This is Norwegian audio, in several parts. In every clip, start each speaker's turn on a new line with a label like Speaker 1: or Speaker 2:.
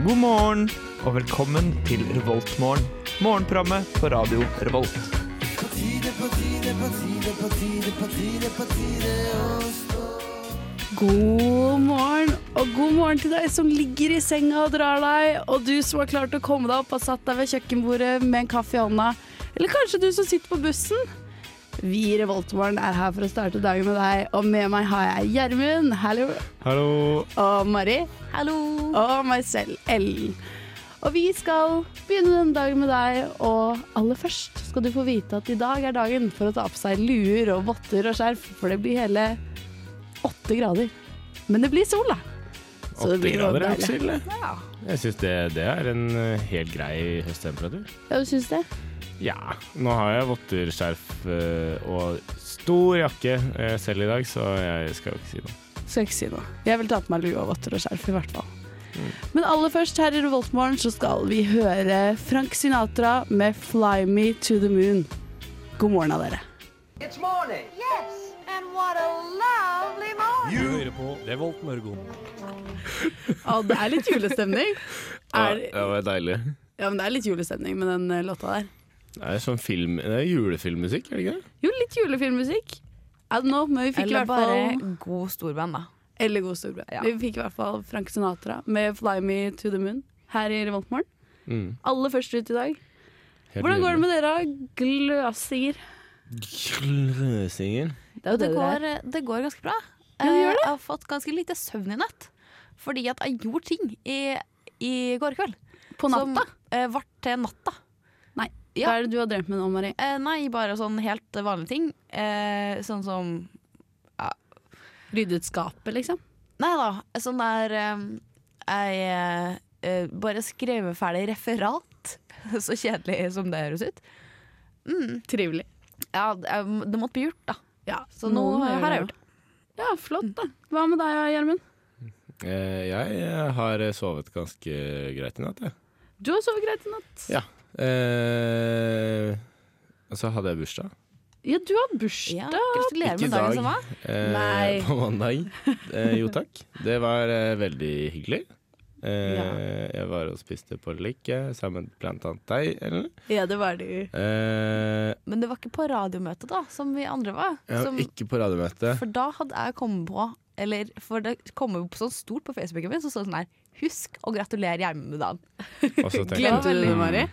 Speaker 1: morgen, og velkommen til Revoltmorgen. Morgenprogrammet på radio Revolt.
Speaker 2: God morgen, og god morgen til deg som ligger i senga og drar deg, og du som har klart å komme deg opp og satt deg ved kjøkkenbordet med en kaffe i hånda, eller kanskje du som sitter på bussen. Vi i Revoltmorgen er her for å starte dagen med deg, og med meg har jeg Gjermund, hallo,
Speaker 3: Hallo.
Speaker 2: og Mari,
Speaker 4: Hallo.
Speaker 2: og meg selv, Ellen. Og vi skal begynne denne dagen med deg, og aller først skal du få vite at i dag er dagen for å ta på seg luer og votter og skjerf, for det blir hele åtte grader. Men det blir sol, da. Så det
Speaker 3: Åtte
Speaker 2: blir jo
Speaker 3: grader er
Speaker 2: deilig.
Speaker 3: ikke ille.
Speaker 2: Ja,
Speaker 3: Jeg syns det, det er en eh, helt grei høsttemperatur.
Speaker 2: ja du syns det?
Speaker 3: Ja. Nå har jeg votter, skjerf eh, og stor jakke eh, selv i dag, så jeg skal jo ikke si noe.
Speaker 2: Skal ikke si noe. Jeg vil ta på meg lue og votter og skjerf, i hvert fall.
Speaker 3: Mm.
Speaker 2: Men aller først her i Revoltmorgen så skal vi høre Frank Sinatra med 'Fly Me To The Moon'. God morgen av dere.
Speaker 5: It's morning.
Speaker 6: Yes, and what a lovely morning.
Speaker 2: Å, det er litt julestemning. Er,
Speaker 3: det var deilig.
Speaker 2: Ja, men det er litt julestemning med den eh, låta der.
Speaker 3: Det er sånn film, det er julefilmmusikk, er det ikke det?
Speaker 2: Jo, litt julefilmmusikk. I don't know, men vi fikk i
Speaker 4: Eller
Speaker 2: hvert fall
Speaker 4: bare god storband, da.
Speaker 2: Eller god storbrann.
Speaker 4: Ja.
Speaker 2: Vi fikk i hvert fall Frank Sinatra med 'Fly Me To The Moon' her i Revoltmorgen.
Speaker 3: Mm.
Speaker 2: Aller først ut i dag.
Speaker 3: Helt
Speaker 2: Hvordan går det med dere, gløsinger?
Speaker 3: Gløsinger.
Speaker 2: Det er jo
Speaker 4: Det
Speaker 2: det det
Speaker 4: går, eh,
Speaker 2: er.
Speaker 4: det går ganske bra.
Speaker 2: Ja, det gjør
Speaker 4: Eh, Jeg har fått ganske lite søvn i natt. Fordi at jeg gjorde ting i, i går kveld.
Speaker 2: På natta?
Speaker 4: Som eh, vart til natta. ja.
Speaker 2: Hva er det du har drevet med nå, Mari?
Speaker 4: Eh, nei, bare sånn helt vanlige ting. Eh, sånn som
Speaker 2: Ryddet skapet, liksom?
Speaker 4: Nei da, sånn der eh, Jeg eh, eh, bare skrev ferdig referat. Så kjedelig som det høres ut. Mm.
Speaker 2: Trivelig.
Speaker 4: Ja, det, eh, det måtte bli gjort, da.
Speaker 2: Ja,
Speaker 4: Så nå
Speaker 2: noen gjør
Speaker 4: har jeg
Speaker 2: det.
Speaker 4: gjort det.
Speaker 2: Ja, flott, da. Hva med deg, Gjermund?
Speaker 3: Eh, Jeg eh, har eh, sovet ganske greit i natt, jeg.
Speaker 2: Du har sovet greit i natt.
Speaker 3: Ja. Eh, Og så hadde jeg bursdag.
Speaker 2: Ja, du har bursdag.
Speaker 4: Ja, gratulerer
Speaker 3: Ikke i
Speaker 4: med dagen som var.
Speaker 3: dag. Eh,
Speaker 2: Nei.
Speaker 3: på mandag. Eh, jo takk. Det var eh, veldig hyggelig. Eh, Jeg var og spiste på Lykke sammen med blant annet deg, Ellen.
Speaker 2: Ja, det var du.
Speaker 3: Eh,
Speaker 4: Men det var ikke på radiomøtet da, som vi andre var.
Speaker 3: jeg
Speaker 4: som,
Speaker 3: var ikke på radiomøte.
Speaker 4: for da hadde jeg kommet på Eller for det kom jo sånn stort på Facebooken min, så stod det sånn her Husk å gratulere Gjermund med dagen.
Speaker 3: og så tenkte jeg,
Speaker 2: Glemte du det,
Speaker 3: mm,
Speaker 2: Mari?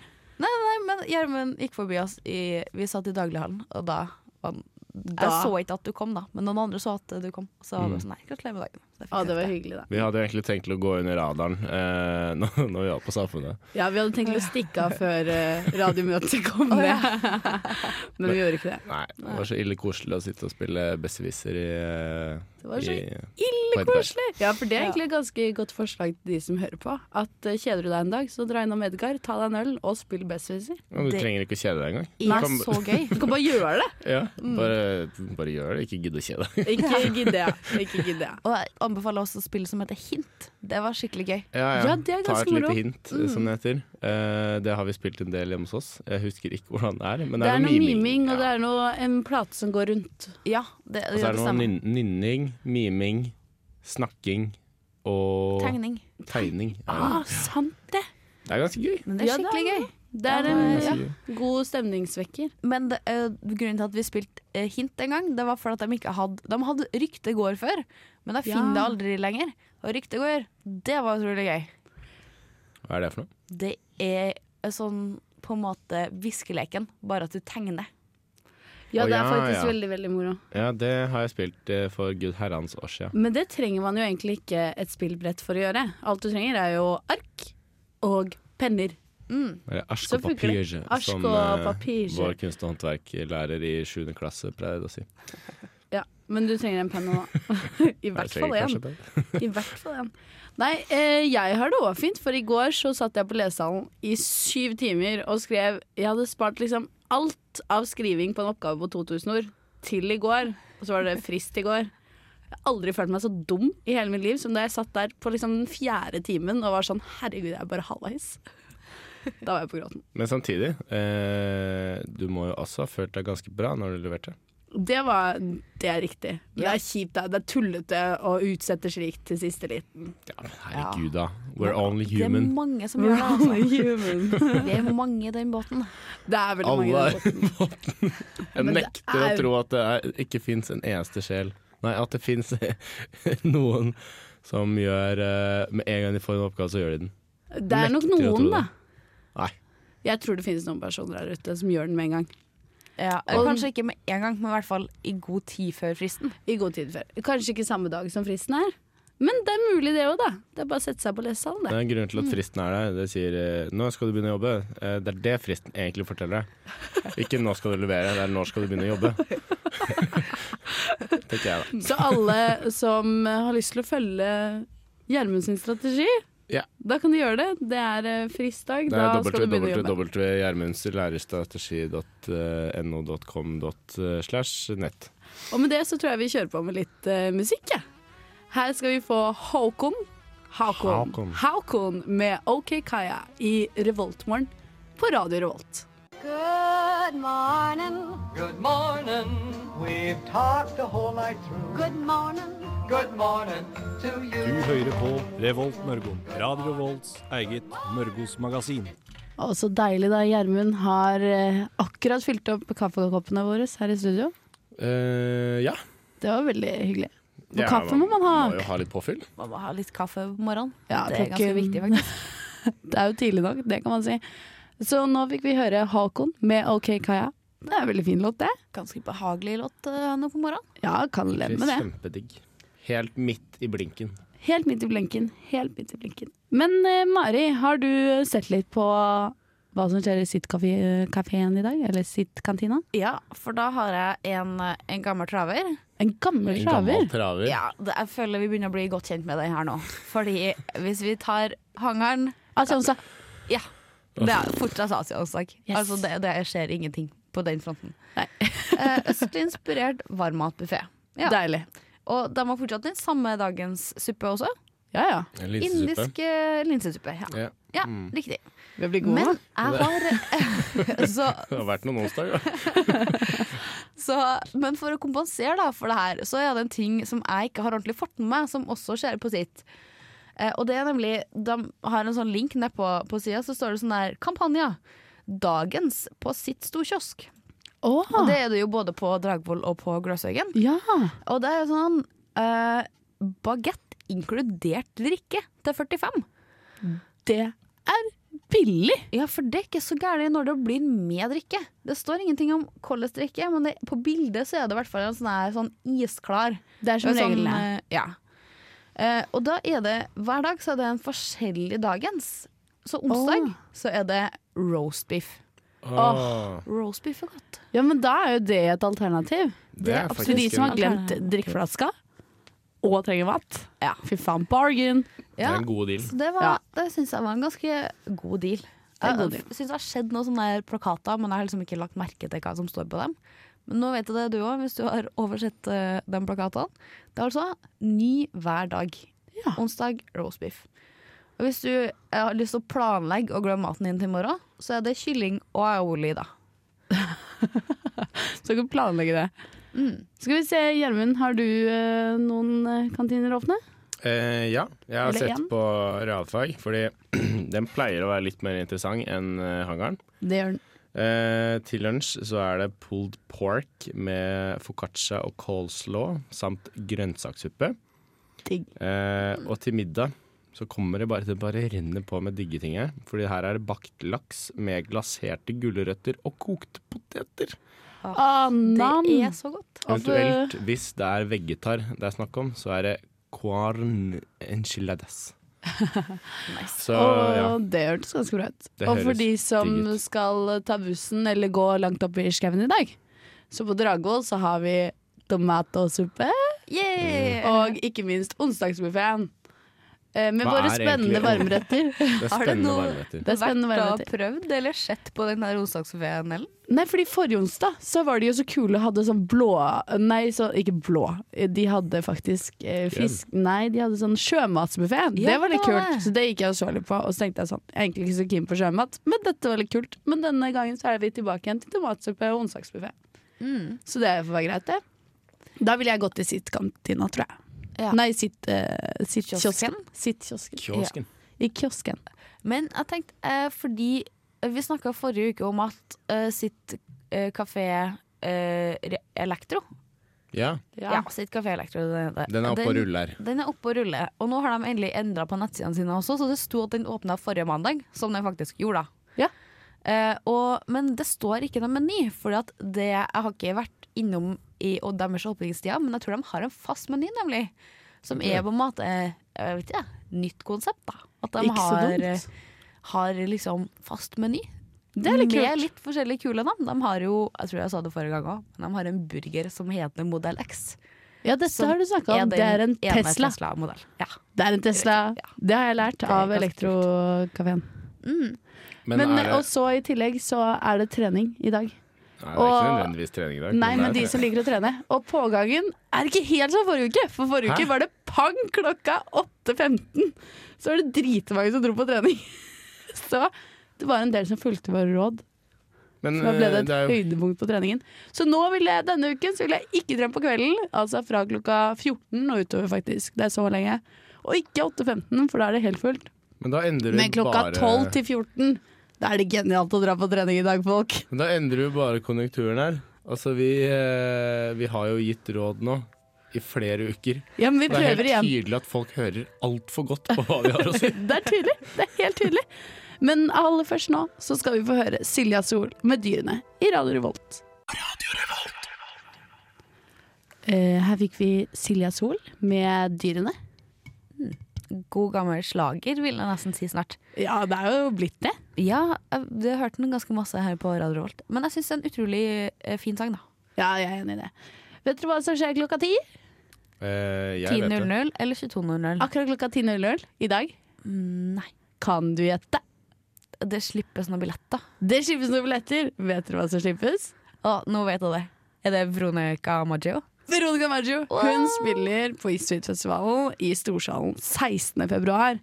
Speaker 4: Nei, men Gjermund gikk forbi oss, i, vi satt i daglighallen, og da var han Jeg
Speaker 2: Da.
Speaker 4: så ikke at du kom, da, men noen andre så at du kom. Så var
Speaker 3: Mm.
Speaker 4: det sånn, nei, gratulerer med dagen. Så jeg fikk
Speaker 2: Ja, det var
Speaker 4: sett
Speaker 2: hyggelig, da.
Speaker 3: Vi hadde jo egentlig tenkt å gå under radaren eh, når, når vi var på Samfunnet.
Speaker 2: Ja, vi hadde tenkt å stikke av før eh, radiomøtet kom med. Men vi gjorde ikke det.
Speaker 3: Nei, Det var så ille koselig å sitte og spille besserwisser i eh,
Speaker 2: Det var så
Speaker 3: i-
Speaker 2: ille
Speaker 3: White Bear.
Speaker 2: koselig! Ja, for det er egentlig et ganske godt forslag til de som hører på. At eh, kjeder du deg en dag, så dra innom Edgar, ta deg en øl og spill Bestviser.
Speaker 3: Ja, Du
Speaker 4: Det-
Speaker 3: trenger ikke å kjede deg engang.
Speaker 4: Det
Speaker 3: Kom-
Speaker 4: er så gøy.
Speaker 2: Du kan bare gjøre det!
Speaker 3: Ja,
Speaker 2: Mm.
Speaker 3: bare, bare gjør det. Ikke gidd å kjede deg.
Speaker 2: Ikke gidde jeg. Ikke gidde jeg.
Speaker 4: Og jeg anbefaler også spillet som heter Hint. Det var skikkelig gøy.
Speaker 3: Ja,
Speaker 2: Ja, det er
Speaker 3: Ta
Speaker 2: ganske
Speaker 3: et lite
Speaker 2: moro. Mm.
Speaker 3: hint, som det heter. Eh, det har vi spilt en del hjemme hos oss. Jeg husker ikke hvordan det er, men
Speaker 2: Det er noe miming, og
Speaker 3: Ja.
Speaker 2: det er noe, en plate som går rundt.
Speaker 4: Ja, det,
Speaker 3: Og så
Speaker 4: ja,
Speaker 3: er
Speaker 4: det
Speaker 3: det noe
Speaker 4: stemmer.
Speaker 3: nyn- nynning, miming, snakking og
Speaker 4: Tegning.
Speaker 3: tegning. Ja.
Speaker 2: Ah, sant det!
Speaker 3: Det er ganske gøy.
Speaker 4: Men det
Speaker 2: Ja,
Speaker 4: er
Speaker 2: det er
Speaker 4: skikkelig gøy.
Speaker 2: Det er en
Speaker 4: Ja,
Speaker 3: det
Speaker 2: ja,
Speaker 3: er ganske
Speaker 2: god stemningsvekker.
Speaker 4: Men det, eh, grunnen til at vi spilte eh, hint en gang, det var for at de ikke hadde De hadde rykte går før, men de
Speaker 2: Ja.
Speaker 4: finner det aldri lenger. Og rykte går, det var utrolig gøy.
Speaker 3: Hva er det for noe?
Speaker 4: Det er eh, sånn på en måte viskeleken, bare at du tegner.
Speaker 2: Ja,
Speaker 3: Å,
Speaker 2: det er
Speaker 3: ja,
Speaker 2: faktisk
Speaker 3: ja.
Speaker 2: veldig, veldig moro.
Speaker 3: Ja, det har jeg spilt eh, for gud herrans år siden.
Speaker 2: Men det trenger man jo egentlig ikke et spillbrett for å gjøre. Alt du trenger er jo ark og penner.
Speaker 3: Eller Arsk
Speaker 2: Så
Speaker 3: og
Speaker 2: funker
Speaker 3: papir,
Speaker 2: det. Arsk
Speaker 3: som
Speaker 2: og
Speaker 3: eh,
Speaker 2: papir.
Speaker 3: vår kunst- og håndverklærer i 7. klasse pleide å si.
Speaker 2: Ja, men du trenger en penn nå. I hvert fall
Speaker 3: Jeg
Speaker 2: én.
Speaker 3: trenger kanskje det.
Speaker 2: I hvert fall en. Nei, eh, jeg har det òg fint, for i går så satt jeg på lesesalen i syv timer og skrev Jeg hadde spart liksom alt av skriving på en oppgave på 2000 ord til i går, og så var det frist i går. Jeg har aldri følt meg så dum i hele mitt liv som da jeg satt der på liksom den fjerde timen og var sånn Herregud, jeg er bare halvveis. Da var jeg på gråten.
Speaker 3: Men samtidig, eh, du må jo også ha følt deg ganske bra når du leverte.
Speaker 2: Det, var, det er riktig. Men det er kjipt. da. Det er tullete å utsette slikt til siste liten.
Speaker 3: Ja, men herregud, da. We're only
Speaker 4: Det er
Speaker 3: human.
Speaker 4: mange som gjør det. Altså.
Speaker 2: Human.
Speaker 4: Vi er mange i den båten.
Speaker 2: Det er veldig mange.
Speaker 3: Alle
Speaker 2: i
Speaker 3: er
Speaker 2: den båten.
Speaker 3: Jeg
Speaker 2: Men det
Speaker 3: nekter å
Speaker 2: er-
Speaker 3: tro at det er, ikke fins en eneste sjel. Nei, at det fins noen som gjør eh, Med en gang de får en oppgave, så gjør de den.
Speaker 2: Det er nok
Speaker 3: Nekter å
Speaker 2: noen,
Speaker 3: tro
Speaker 2: da.
Speaker 3: det. Nei.
Speaker 2: Jeg tror det finnes noen personer der ute som gjør den med en gang.
Speaker 4: Ja, eller Eh, kanskje ikke med en gang, men i hvert fall i god tid før fristen.
Speaker 2: I god tid før. Kanskje ikke samme dag som fristen er, men det er mulig det òg, da. Det er bare å sette seg på lesesalen,
Speaker 3: Det
Speaker 2: det.
Speaker 3: er en grunn til at fristen er der. Det sier eh, 'nå skal du begynne å jobbe'. Eh, Det er det fristen egentlig forteller deg. Ikke 'nå skal du levere', det er 'nå skal du begynne å jobbe'. Tenker jeg, da.
Speaker 2: Så alle som eh, har lyst til å følge Gjermund sin strategi,
Speaker 3: Ja.
Speaker 2: da kan du gjøre det. Det er eh, fristdag.
Speaker 3: Det
Speaker 2: Da skal du begynne å
Speaker 3: er
Speaker 2: jobbe.
Speaker 3: eh, www.gjermundslærerstrategi.no.com.slash nett.
Speaker 2: Og med det så tror jeg vi kjører på med litt eh, musikk, jeg. Her skal vi få Håkon. Håkon.
Speaker 3: Håkon.
Speaker 2: Håkon med OK Kaja i Revoltmorgen på Radio Revolt.
Speaker 6: Good morning.
Speaker 5: Good morning. We've talked the whole night through.
Speaker 6: Good morning.
Speaker 5: Good morning to you.
Speaker 7: Du hører på Revolt Mørgo. Radio Volts eget Mørgos magasin.
Speaker 2: Og så deilig da Gjermund har eh, akkurat fylt opp kaffekoppene våre her i studio.
Speaker 3: Eh, ja.
Speaker 2: Det var veldig hyggelig. Og
Speaker 3: Ja,
Speaker 2: kaffe må man ha.
Speaker 3: Må jo ha litt påfyll.
Speaker 4: Man må ha litt kaffe på morgenen.
Speaker 2: Ja,
Speaker 4: det er ganske
Speaker 2: klokken-
Speaker 4: viktig, faktisk.
Speaker 2: Det er jo tidlig nok, det kan man si. Så nå fikk vi høre Håkon med OK Kaja. Det er en veldig fin låt, det.
Speaker 4: Ganske behagelig låt eh, nå på morgenen.
Speaker 2: Ja, kan leve med det.
Speaker 3: Kjempedigg. Helt midt i blinken.
Speaker 2: Helt midt i blinken. Helt midt i blinken. Men eh, Mari, har du sett litt på hva som skjer i Sitt-kafeen i dag? Eller Sitt-kantina?
Speaker 4: Ja, for da har jeg en, eh, en gammel traver.
Speaker 2: En gammel
Speaker 3: En
Speaker 2: slaver.
Speaker 3: gammel traver.
Speaker 4: Ja, det, jeg føler vi begynner å bli godt kjent med den her nå. Fordi hvis vi tar hangaren
Speaker 2: Altså, hun sa
Speaker 4: Ja. Det er fortsatt Asiasak.
Speaker 2: Yes.
Speaker 4: Altså det, det skjer ingenting på den fronten.
Speaker 2: Nei.
Speaker 4: Eh, Østlig inspirert varmmatbuffé. Ja.
Speaker 2: Deilig.
Speaker 4: Og de har fortsatt den samme dagens suppe også.
Speaker 2: Ja ja.
Speaker 3: En linsesuppe.
Speaker 4: Indisk eh, linsesuppe. Ja,
Speaker 3: Ja.
Speaker 4: ja riktig.
Speaker 2: Vi blir gode.
Speaker 4: Men jeg har så,
Speaker 3: Det har vært noen onsdag, da.
Speaker 4: så, Men for å kompensere da for det her, så er det en ting som jeg ikke har ordentlig fått med meg, som også skjer på sitt. Eh, og det er nemlig De har en sånn link nedpå på, på sida, så står det sånn der Kampanjer. Dagens på sitt storkiosk.
Speaker 2: Åh,
Speaker 4: Og det er det jo både på Dragvoll og på Gløshaugen.
Speaker 2: Ja.
Speaker 4: Og det er jo sånn eh, Bagett inkludert drikke til 45.
Speaker 2: Det er billig!
Speaker 4: Ja, for det er ikke så gærent når det blir med drikke. Det står ingenting om hvordan drikke, men det, på bildet så er det i hvert fall en sånn, her, sånn isklar.
Speaker 2: Det er som
Speaker 4: sånn,
Speaker 2: regelen er.
Speaker 4: eh, ja. Eh, og da er det hver dag så er det en forskjellig dagens. Så onsdag
Speaker 2: Åh.
Speaker 4: så er det roast beef.
Speaker 3: Åh,
Speaker 4: Roast beef er godt.
Speaker 2: Ja, men da er jo det et alternativ.
Speaker 3: det er
Speaker 2: Så de
Speaker 3: faktisk
Speaker 2: som har
Speaker 3: en,
Speaker 2: glemt drikkeflaska og trenger vatt, ja, fy faen, bargain.
Speaker 3: det
Speaker 4: Ja.
Speaker 3: er en god deal.
Speaker 4: Så det, var,
Speaker 2: Ja.
Speaker 4: det syns jeg var en ganske god deal.
Speaker 2: er en god
Speaker 4: Jeg syns det har skjedd sånn noen sånne her plakater, men jeg har liksom ikke lagt merke til hva som står på dem. Men nå vet du det du òg, hvis du har oversett eh, de plakatene. Det er altså ny hver dag.
Speaker 2: Ja.
Speaker 4: Onsdag roast beef. Og hvis du eh, har lyst til å planlegge og glemme maten din til i morgen, så er det kylling og aioli, da.
Speaker 2: Så du kan planlegge det. Skal vi se, Gjermund, har du eh, noen eh, kantiner åpne?
Speaker 3: Eh, ja, jeg har
Speaker 2: Eller
Speaker 3: sett
Speaker 2: en.
Speaker 3: på realfag, fordi den pleier å være litt mer interessant enn eh, hangaren.
Speaker 2: Det gjør den.
Speaker 3: Eh, til lunsj så er det pulled pork med foccaccia og coleslaw samt grønnsakssuppe.
Speaker 2: Digg.
Speaker 3: Eh, og til middag så kommer det bare det bare renner på med digge ting her. Fordi her er det bakt laks med glaserte gulrøtter og kokte poteter.
Speaker 2: Anam.
Speaker 4: Det er så godt.
Speaker 3: Eventuelt,
Speaker 2: Altså-
Speaker 3: hvis det er vegetar det er snakk om, så er det corn enchiladas. Så
Speaker 2: og
Speaker 3: ja.
Speaker 2: det hørtes ganske bra ut.
Speaker 3: Det
Speaker 2: Og for
Speaker 3: høres
Speaker 2: de som
Speaker 3: digg ut.
Speaker 2: skal ta bussen eller gå langt opp i skauen i dag, så på Dragvoll så har vi tomatsuppe
Speaker 4: Yeah!
Speaker 2: og ikke minst onsdagsbuffeen. Eh, Med
Speaker 3: Hva
Speaker 2: våre
Speaker 3: er
Speaker 2: spennende
Speaker 3: egentlig-
Speaker 2: varmretter.
Speaker 3: Det er
Speaker 4: Har det
Speaker 3: spennende
Speaker 4: noe-
Speaker 3: varmretter.
Speaker 2: Det er spennende
Speaker 4: Vært
Speaker 2: varmretter.
Speaker 4: og prøvd eller sett på den der onsdagsbuffeen, Ellen?
Speaker 2: Nei, fordi forrige onsdag så var de jo så kule og hadde sånn blå Nei, så, ikke blå. De hadde faktisk eh, fisk Nei, de hadde sånn sjømatsbuffé.
Speaker 4: Ja,
Speaker 2: det var litt
Speaker 4: det var
Speaker 2: kult.
Speaker 4: det.
Speaker 2: Så det gikk jeg og så litt på. Og så tenkte jeg sånn, jeg er egentlig ikke så keen på sjømat, men dette var litt kult. Men denne gangen så er vi tilbake igjen til tomatsuppe og onsdagsbuffé. Så det får være greit, det. Da ville jeg gått til sitt-kantina, tror jeg.
Speaker 4: Ja.
Speaker 2: Nei, sitt, eh, sitt
Speaker 4: Kiosken?
Speaker 2: kiosken. Sitt kiosken.
Speaker 3: Kiosken.
Speaker 2: I kiosken.
Speaker 4: Men jeg tenkte, eh, fordi vi snakka forrige uke om at eh, sitt eh, kafé eh, Re- Elektro
Speaker 3: Ja,
Speaker 4: Ja, sitt kafé Elektro. Den, heter.
Speaker 3: den er oppe og ruller.
Speaker 4: Den er oppe og ruller. Og nå har de endelig endra på nettsidene sine også, så det sto at den åpna forrige mandag, som den faktisk gjorde da.
Speaker 2: Ja.
Speaker 4: Eh, og, men det står ikke noen meny, for det jeg har ikke vært innom i og deres åpningstida, men jeg tror de har en fast meny, nemlig. Som er på en måte eh, jeg vet ikke, nytt konsept, da. At de
Speaker 2: Ikke så
Speaker 4: har,
Speaker 2: dumt.
Speaker 4: eh, har liksom fast meny.
Speaker 2: Det er litt
Speaker 4: Med
Speaker 2: kult.
Speaker 4: litt forskjellige kule navn. De har jo, jeg tror jeg sa det forrige gang òg, men de har en burger som heter Modell X.
Speaker 2: Ja, dette
Speaker 4: Som
Speaker 2: har du snakka
Speaker 4: er
Speaker 2: om. Det er en
Speaker 4: den ene
Speaker 2: Tesla.
Speaker 4: Tesla-modell. ja.
Speaker 2: Det er en Tesla.
Speaker 4: Ja.
Speaker 2: Det har jeg lært
Speaker 4: er
Speaker 2: av
Speaker 4: ganske
Speaker 2: elektrokafeen.
Speaker 3: Men,
Speaker 2: Men,
Speaker 3: er det,
Speaker 2: og så i tillegg så er det trening i dag.
Speaker 3: nei, det er ikke
Speaker 2: og-
Speaker 3: nødvendigvis trening i dag.
Speaker 2: Nei, men
Speaker 3: det
Speaker 2: de
Speaker 3: er-
Speaker 2: som liker å trene. Og pågangen er ikke helt som forrige uke, for forrige
Speaker 3: Hæ?
Speaker 2: uke var det pang klokka 8.15. Så var det dritmange som dro på trening. Så det var en del som fulgte våre råd.
Speaker 3: Men,
Speaker 2: Så da ble det
Speaker 3: eh,
Speaker 2: et
Speaker 3: det er jo-
Speaker 2: høydepunkt på treningen. Så nå vil jeg, denne uken så vil jeg ikke trene på kvelden, altså fra klokka 14 og utover faktisk. Det er så lenge. Og ikke 8.15, for da er det helt fullt.
Speaker 3: men da endrer
Speaker 2: Men
Speaker 3: du
Speaker 2: klokka
Speaker 3: bare
Speaker 2: 12 til 14, da er det genialt å dra på trening i dag, folk.
Speaker 3: Men Da endrer vi bare konjunkturen her. Altså, vi, eh, vi har jo gitt råd nå i flere uker.
Speaker 2: Ja, men vi
Speaker 3: Det er
Speaker 2: prøver
Speaker 3: helt
Speaker 2: igjen.
Speaker 3: tydelig at folk hører altfor godt på hva vi har å si.
Speaker 2: Det er tydelig. Det er helt tydelig. Men aller først nå så skal vi få høre Silja Sol med Dyrene i Radio Revolt. Eh, her fikk vi Silja Sol med Dyrene.
Speaker 4: God gammel slager, vil jeg nesten si snart.
Speaker 2: Ja, det er jo blitt det.
Speaker 4: Ja, jeg- du har hørt den ganske masse her på Radio Revolt. Men jeg syns det er en utrolig eh, fin sang, da.
Speaker 2: Ja, jeg er enig i det. Vet dere hva som skjer klokka ti?
Speaker 3: Eh, jeg vet det.
Speaker 4: 10.00 eller 22.00?
Speaker 2: Akkurat klokka 10.00 i dag.
Speaker 4: Mm, Nei.
Speaker 2: Kan du gjette?
Speaker 4: Det slippes noen billetter.
Speaker 2: Det slippes noen billetter. Vet dere hva som slippes?
Speaker 4: Å, nå vet jeg det. Er det Veronica Maggio?
Speaker 2: Veronica Maggio Hun spiller på Eastfeed-festivalen i Storsalen 16. februar.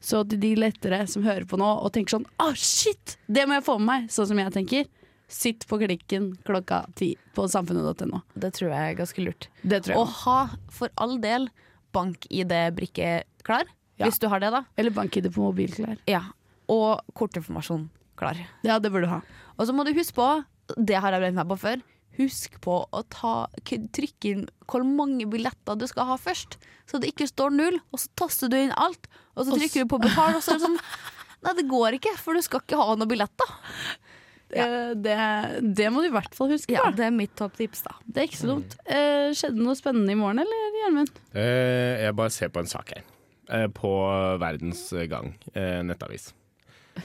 Speaker 2: Så til de lettere som hører på nå og tenker sånn Å, shit! Det må jeg få med meg! Sånn som jeg tenker. Sitt på klikken klokka ti på samfunnet.no.
Speaker 4: Det tror jeg er ganske lurt.
Speaker 2: Det tror jeg.
Speaker 4: Å ha, for all del, bank-ID-brikke klar.
Speaker 2: Ja.
Speaker 4: Hvis du har det, da.
Speaker 2: Eller bank-ID på mobilklær.
Speaker 4: Ja. Og kortinformasjon klar.
Speaker 2: Ja, det bør du ha.
Speaker 4: Og så må du huske på, det har jeg brent meg på før, husk på å ta, k- trykke inn hvor mange billetter du skal ha først, så det ikke står null, og så taster du inn alt, og så
Speaker 2: Og s-
Speaker 4: trykker du på betal, og så er det sånn, nei det går ikke, for du skal ikke ha noen billetter.
Speaker 2: Eh, Det, det må du i hvert fall huske på.
Speaker 4: det er mitt topptips da.
Speaker 2: Det er ikke så dumt. Eh, skjedde det noe spennende i morgen, eller, Gjermund?
Speaker 3: Eh, jeg bare ser på en sak her. Eh, på Verdens Gang, eh, nettavis.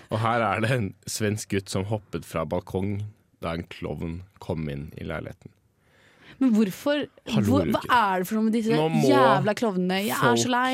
Speaker 3: Og her er det en svensk gutt som hoppet fra balkong da en klovn kom inn i leiligheten.
Speaker 2: Men hvorfor?
Speaker 3: Hallo,
Speaker 2: Hvor, hva
Speaker 3: Ulrikke.
Speaker 2: er det for noe med disse
Speaker 3: Nå må
Speaker 2: jævla klovnene? Jeg er
Speaker 3: folk-
Speaker 2: så lei.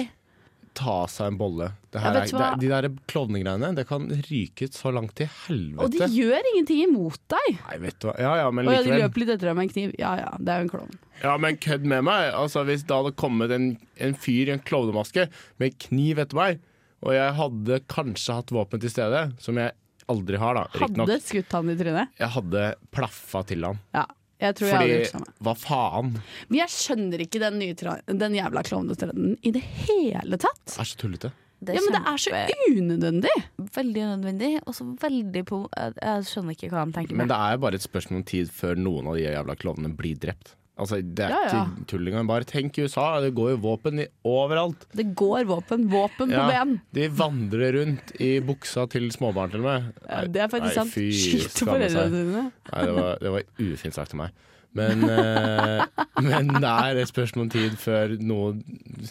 Speaker 3: Ta seg en bolle.
Speaker 2: Ja,
Speaker 3: Det her er,
Speaker 2: vet du hva?
Speaker 3: det, de der klovnegreiene det kan ryke ut så langt til helvete.
Speaker 2: Og de gjør ingenting imot deg.
Speaker 3: Nei, vet du hva. Ja, ja, men
Speaker 2: Å ja, de
Speaker 3: likevel.
Speaker 2: løp litt etter deg med en kniv. Ja ja, det er jo en klovn.
Speaker 3: Ja, men kødd med meg. Altså, hvis det hadde kommet en, en fyr i en klovnemaske med kniv etter meg, og jeg hadde kanskje hatt våpen til stede, som jeg aldri har, da, riktignok
Speaker 2: Hadde skutt han i trynet.
Speaker 3: Jeg hadde plaffa til han.
Speaker 2: Ja, jeg tror jeg hadde gjort sånn, det
Speaker 3: Fordi
Speaker 2: samme.
Speaker 3: hva faen? Det
Speaker 2: Men jeg skjønner ikke den, nye tra den jævla klovnetrenden i det hele tatt.
Speaker 3: er så tullete.
Speaker 4: Det
Speaker 2: Ja, men det er så unødvendig.
Speaker 4: veldig nødvendig, og så veldig på, jeg, jeg skjønner ikke hva de tenker
Speaker 3: Men
Speaker 4: med.
Speaker 3: det er jo bare et spørsmål om tid før noen av de jævla klovnene blir drept. Altså, Det er
Speaker 2: Ja, ja.
Speaker 3: ikke tull engang. Bare tenk i USA, det går jo våpen i overalt.
Speaker 2: Det går våpen. Våpen på
Speaker 3: Ja,
Speaker 2: ben.
Speaker 3: de vandrer rundt i buksa til småbarn, til og med.
Speaker 2: Ja, Det er faktisk
Speaker 3: nei,
Speaker 2: sant.
Speaker 3: fy,
Speaker 2: Skyt
Speaker 3: skamme
Speaker 2: foreldrene
Speaker 3: seg.
Speaker 2: dine.
Speaker 3: Nei, det var, det var ufint sagt til meg. Men, eh, men det er et spørsmål om tid før noen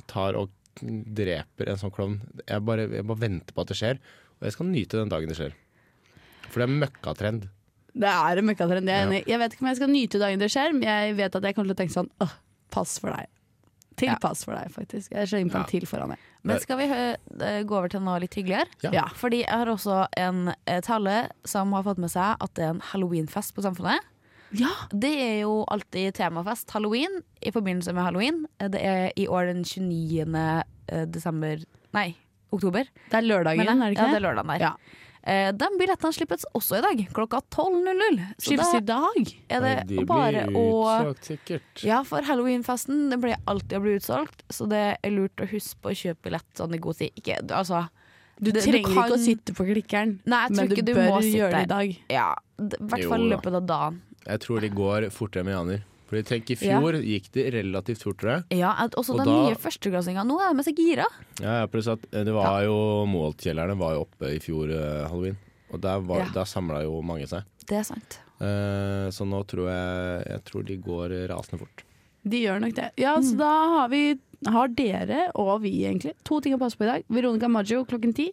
Speaker 3: tar og dreper en sånn klovn. Jeg bare, jeg bare venter på at det skjer, og jeg skal nyte den dagen det skjer. For det er møkkatrend.
Speaker 2: Det er en møkkatrend. Jeg, er enig i. jeg vet ikke om jeg skal nyte dagen det skjer, men jeg vet at jeg kommer til å tenke sånn Åh, pass for deg. Til
Speaker 4: Ja.
Speaker 2: pass for deg, faktisk. Jeg slenger på en til foran deg.
Speaker 4: Men skal vi hø- eh, gå over til noe litt hyggeligere?
Speaker 3: Ja.
Speaker 2: Ja.
Speaker 4: Fordi jeg har også en eh, tale som har fått med seg at det er en halloweenfest på samfunnet.
Speaker 2: Ja,
Speaker 4: Det er jo alltid temafest halloween i forbindelse med halloween. eh, Det er i år den 29. desember Nei, oktober.
Speaker 2: det er lørdagen,
Speaker 4: Men
Speaker 2: er det
Speaker 4: ja,
Speaker 2: ikke
Speaker 4: det er lørdagen der.
Speaker 2: Ja.
Speaker 4: Eh, de billettene slippes også i dag, klokka 12.00. Så
Speaker 2: Slippes i
Speaker 4: da
Speaker 2: dag?
Speaker 4: er
Speaker 3: Nei,
Speaker 4: det bare
Speaker 3: blir
Speaker 4: å
Speaker 3: utsolgt, sikkert.
Speaker 4: ja, for halloweenfesten det blir alltid å bli utsolgt, så det er lurt å huske på å kjøpe billett sånn i god tid. Ikke, altså,
Speaker 2: Du
Speaker 4: Det- du
Speaker 2: trenger
Speaker 4: kan-
Speaker 2: ikke å sitte på klikkeren,
Speaker 4: Nei, jeg tror
Speaker 2: men du,
Speaker 4: ikke du
Speaker 2: bør
Speaker 4: må sitte
Speaker 2: gjøre det i
Speaker 4: der.
Speaker 2: dag.
Speaker 4: ja, d- i hvert
Speaker 3: Jo
Speaker 4: fall i
Speaker 3: da.
Speaker 4: løpet av dagen.
Speaker 3: Jeg tror de går fortere med Janer. Fordi tenk, I fjor gikk de relativt fortere.
Speaker 4: Ja, at også
Speaker 3: Og
Speaker 4: de
Speaker 3: da-
Speaker 4: nye førsteklassingene. Nå er de så gira.
Speaker 3: Ja, ja, pluss at eh, det var jo Måltkjellerne var jo oppe i fjor eh, halloween. Og der, var-
Speaker 4: Ja.
Speaker 3: der samla jo mange seg.
Speaker 4: Det er sant.
Speaker 3: Eh, så nå tror jeg Jeg tror de går rasende fort.
Speaker 2: De gjør nok det. Ja, så da har vi har dere og vi egentlig to ting å passe på i dag. Veronica Maggio klokken ti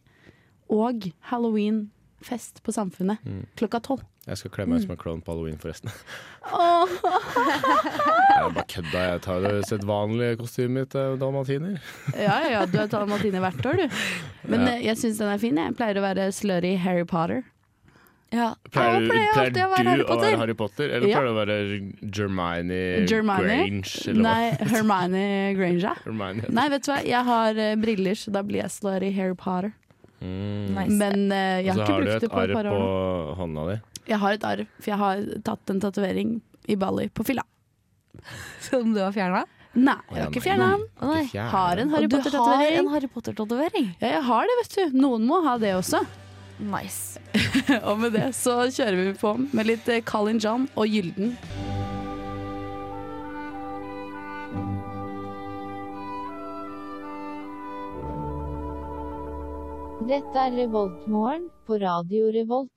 Speaker 2: og halloweenfest på Samfunnet
Speaker 3: Mm.
Speaker 2: klokka tolv.
Speaker 3: Jeg skal kle meg ut som en klovn på halloween, forresten. jeg bare kødda. Jeg tar jo sedvanlige kostymet mitt, eh, dalmatiner.
Speaker 2: Ja, ja, ja, du har tatt Martine hvert år, du. Men
Speaker 3: Ja.
Speaker 2: eh, jeg syns den er fin. Jeg pleier å være slurry Harry Potter.
Speaker 4: Ja.
Speaker 3: Pleier,
Speaker 4: Jeg pleier alltid å være
Speaker 3: du
Speaker 4: Harry
Speaker 3: å være
Speaker 4: Potter.
Speaker 3: Harry Potter, eller
Speaker 2: Ja.
Speaker 3: pleier du å være Germine,
Speaker 2: Germane.
Speaker 3: Eh, Grange? Eller
Speaker 2: Nei, Hermione Granger.
Speaker 3: hva? Hermione.
Speaker 2: Nei, vet du hva, jeg har eh, briller, så da blir jeg slurry Harry Potter.
Speaker 3: Mm.
Speaker 4: Nice.
Speaker 2: Men eh, jeg har ikke
Speaker 3: Og så har du
Speaker 2: brukt
Speaker 3: et
Speaker 2: det på et
Speaker 3: arr
Speaker 2: par år. nå.
Speaker 3: på hånda di.
Speaker 2: Jeg har et arv, for jeg har tatt en tatovering i Bali på fylla.
Speaker 4: Som du har fjerna?
Speaker 2: Nei, jeg har ikke fjerna den.
Speaker 3: Ikke fjernet.
Speaker 2: Har en Harry
Speaker 4: Og du har
Speaker 2: Potter-tatovering.
Speaker 4: en Harry Potter-tatovering.
Speaker 2: Ja, jeg har det, vet du. Noen må ha det også.
Speaker 4: Nice.
Speaker 2: Og med det så kjører vi på med litt eh, Colin John og Gylden.
Speaker 8: Dette er Revoltmorgen på Radio Revolt.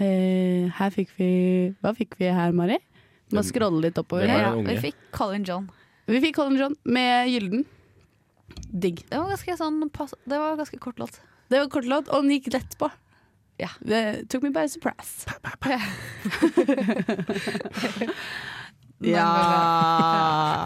Speaker 2: Eh, her fikk vi Hva fikk vi her, Mari? Må
Speaker 3: Den-
Speaker 2: scrolle litt oppover.
Speaker 3: den var
Speaker 2: Ja.
Speaker 4: Ja,
Speaker 3: en
Speaker 4: vi
Speaker 3: unge.
Speaker 4: fikk Colin John.
Speaker 2: Vi fikk Colin John med Gylden. Digg.
Speaker 4: Det var ganske sånn pass... Det var ganske kort låt.
Speaker 2: Det var kort låt, og den gikk lett på.
Speaker 4: Ja.
Speaker 2: Det tok meg by surprise.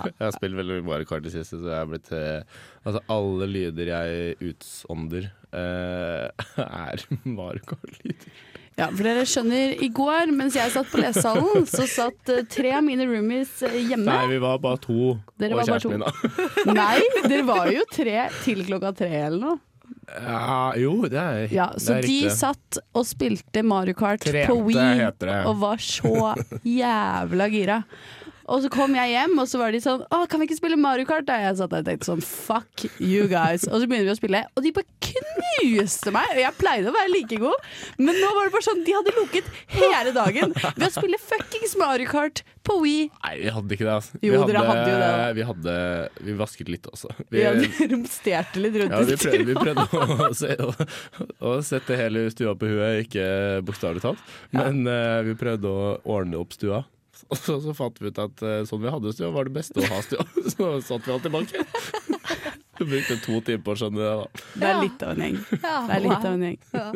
Speaker 3: Jeg har spilt veldig mye Mario Kart i det siste, så jeg er blitt eh, Altså, alle lyder jeg utsånder, eh, er Mario Kart-lyder.
Speaker 2: Ja, for dere skjønner, i går mens jeg satt på lesesalen, så satt eh, tre av mine roomies eh, hjemme.
Speaker 3: Nei, vi var bare to,
Speaker 2: Dere
Speaker 3: og
Speaker 2: var bare to.
Speaker 3: kjæresten min, da.
Speaker 2: Nei, dere var jo tre til klokka tre eller noe.
Speaker 3: Ja, jo, det er,
Speaker 2: Ja,
Speaker 3: det
Speaker 2: så
Speaker 3: er
Speaker 2: de
Speaker 3: riktig.
Speaker 2: satt og spilte Mario Kart på
Speaker 3: Trente,
Speaker 2: Wii
Speaker 3: heter det.
Speaker 2: og var så jævla gira. Og så kom jeg hjem, og så var de sånn Å, kan vi ikke spille Mario Kart? Da jeg satt der og tenkte sånn Fuck you guys. Og så begynner vi å spille, og de bare knuste meg. Og jeg pleide å være like god, men nå var det bare sånn De hadde lukket hele dagen ved å spille fuckings Mario Kart på Wii.
Speaker 3: Nei, vi hadde ikke det, altså.
Speaker 2: Jo, dere hadde jo det, da.
Speaker 3: Vi hadde Vi vasket litt, altså. Vi,
Speaker 2: Ja,
Speaker 3: ja,
Speaker 2: de romsterte litt rundt
Speaker 3: vi
Speaker 2: i
Speaker 3: prøvde, vi
Speaker 2: stua.
Speaker 3: prøvde å, se, å, å sette hele stua på huet, ikke bokstavelig talt, men eh, vi prøvde å ordne opp stua. Og så, så fant vi ut at eh, sånn vi hadde stua, var det beste å ha stua. Så satt vi alt i banken. Vi brukte to timer på å skjønne det. da
Speaker 2: Det er litt av en gjeng.
Speaker 4: Ja,
Speaker 2: Det er litt av en gjeng.
Speaker 4: Ja.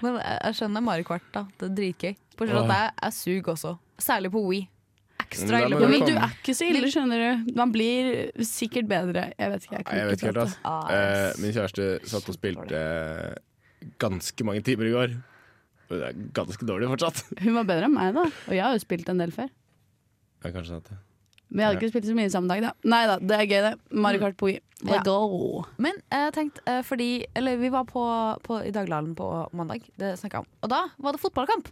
Speaker 4: Men jeg, jeg skjønner Mario Kart, da. Det er dritgøy. Bortsett fra
Speaker 3: Åh.
Speaker 4: at jeg, jeg suger også. Særlig på Wii. Ekstra
Speaker 3: Men da
Speaker 4: ille
Speaker 2: Ja,
Speaker 3: må
Speaker 4: på
Speaker 3: du
Speaker 4: Wii.
Speaker 2: men du
Speaker 3: kom.
Speaker 2: er ikke så ille, skjønner du. Man blir sikkert bedre. Jeg vet ikke. Jeg, kan
Speaker 3: Nei, jeg vet
Speaker 2: ikke
Speaker 3: ikke helt,
Speaker 2: prate.
Speaker 3: ass.
Speaker 4: Ah,
Speaker 3: Eh,
Speaker 4: ass.
Speaker 3: min kjæreste satt og spilte eh, ganske mange timer i går. Og Det er ganske dårlig fortsatt.
Speaker 2: Hun var bedre enn meg, da. Og jeg har jo spilt en del før.
Speaker 3: Ja, kanskje sant det.
Speaker 2: Men jeg hadde ikke spilt så mye samme dag, da. Nei da, det er gøy, det. Mario Kart Poi.
Speaker 4: Ja.
Speaker 2: Let's go.
Speaker 4: Men jeg tenkte, eh, fordi Eller vi var på, på, i Dagbladet på mandag, det snakket jeg om. Og da var det fotballkamp!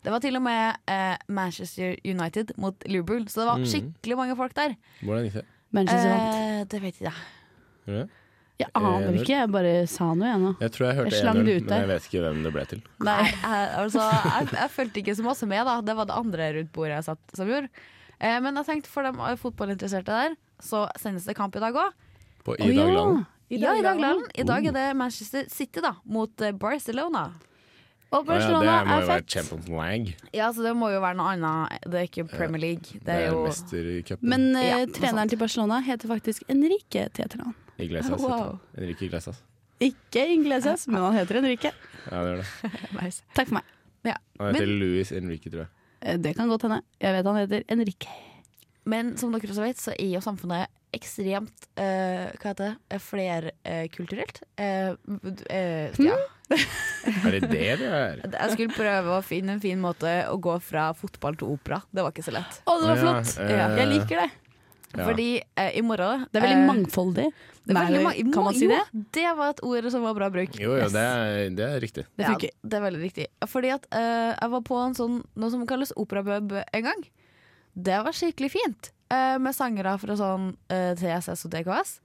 Speaker 4: Det var til og med eh, Manchester United mot Liverpool, så det
Speaker 3: Mm.
Speaker 4: var skikkelig mange folk der.
Speaker 3: Hvordan gikk det?
Speaker 2: Manchester vant.
Speaker 4: Eh, det vet ikke jeg.
Speaker 3: Gjorde det?
Speaker 2: Jeg aner
Speaker 3: ener.
Speaker 2: ikke, jeg bare sa noe, jeg nå.
Speaker 3: Jeg tror jeg
Speaker 2: Jeg
Speaker 3: hørte
Speaker 2: slang
Speaker 3: 1-0,
Speaker 2: det ut
Speaker 3: men
Speaker 2: der.
Speaker 3: jeg vet ikke hvem det ble til.
Speaker 4: Nei, jeg, altså, jeg, jeg fulgte ikke så masse med, da. Det var det andre rundt bordet jeg satt som gjorde. Eh, men jeg tenkte for de fotballinteresserte der, så sendes det kamp i dag òg.
Speaker 3: På
Speaker 2: Å,
Speaker 3: I
Speaker 2: ja.
Speaker 3: Dagland.
Speaker 4: Ja, i dag,
Speaker 2: Dagland.
Speaker 4: Lalen. I dag er
Speaker 3: Oh.
Speaker 4: det Manchester City da mot eh, Barcelona.
Speaker 2: Og
Speaker 3: Å ja,
Speaker 2: Barcelona
Speaker 3: det må
Speaker 2: er
Speaker 3: jo være
Speaker 2: fett.
Speaker 3: Champions League.
Speaker 4: Ja, så det må jo være noe annet. Det er ikke Premier League. Det
Speaker 3: Det
Speaker 4: er
Speaker 3: er
Speaker 4: jo
Speaker 3: mestercupen.
Speaker 2: Men eh,
Speaker 4: Ja, noe
Speaker 2: treneren
Speaker 4: sånt.
Speaker 2: til Barcelona heter faktisk Enrique til etternavn.
Speaker 3: Iglesias.
Speaker 4: Wow.
Speaker 3: heter han. Enrique Iglesias.
Speaker 2: Ikke Inglesias, men han heter Enrique.
Speaker 3: Ja, det gjør det.
Speaker 2: Takk for meg.
Speaker 3: Han heter Louis Enrique, tror jeg.
Speaker 2: Eh, Det kan godt hende. Jeg vet han heter Enrique.
Speaker 4: Men som dere også vet, så er jo samfunnet ekstremt eh, Hva heter det? Flerkulturelt. Eh, v- eh, ja.
Speaker 3: Er det det det er?
Speaker 4: Jeg skulle prøve å finne en fin måte å gå fra fotball til opera. Det var ikke så lett.
Speaker 2: Å, det var
Speaker 3: Å, ja,
Speaker 2: flott!
Speaker 3: eh.
Speaker 2: Jeg liker det.
Speaker 3: Ja.
Speaker 4: Fordi eh, i morgen
Speaker 2: Det er veldig
Speaker 4: eh,
Speaker 2: mangfoldig.
Speaker 4: det er
Speaker 2: Nei,
Speaker 4: veldig mange-
Speaker 2: kan man si
Speaker 4: jo,
Speaker 2: det?
Speaker 4: Det var et ord som var bra bruk.
Speaker 3: Jo, jo, det er, det er riktig.
Speaker 2: Det funker.
Speaker 4: Ja, det er veldig riktig. Fordi at eh, jeg var på en sånn, noe som kalles operapub en gang. Det var skikkelig fint. eh, med sangere fra sånn eh, TSS og DKS.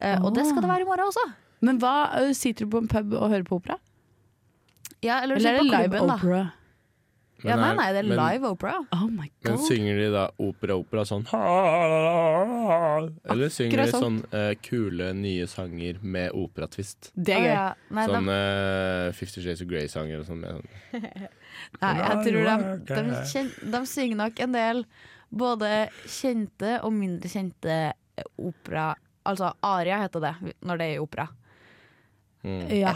Speaker 4: Eh, Og det
Speaker 2: Ah.
Speaker 4: skal det være i morgen også.
Speaker 2: Men hva, ø, sitter du på en pub og hører på opera?
Speaker 4: Ja, eller,
Speaker 2: Eller er det
Speaker 4: på
Speaker 2: live
Speaker 4: klubben, da.
Speaker 2: opera?
Speaker 4: Ja, nei, nei, det er
Speaker 3: men,
Speaker 4: live opera.
Speaker 2: Oh my
Speaker 3: Men
Speaker 2: god.
Speaker 3: synger de da opera-opera sånn Eller synger de sånn eh, kule, nye sanger med operatvist?
Speaker 2: Det er
Speaker 4: Å,
Speaker 2: gøy.
Speaker 4: ja. Nei,
Speaker 3: Sånn
Speaker 4: de,
Speaker 3: eh, Fifty Shades of Grey-sanger og sånn. med sånn- eh,
Speaker 4: nei, jeg tror de, de, kjen, de synger nok en del både kjente og mindre kjente eh, opera... Altså aria heter det når det er i opera. Eh,
Speaker 3: Mm.
Speaker 2: Ja.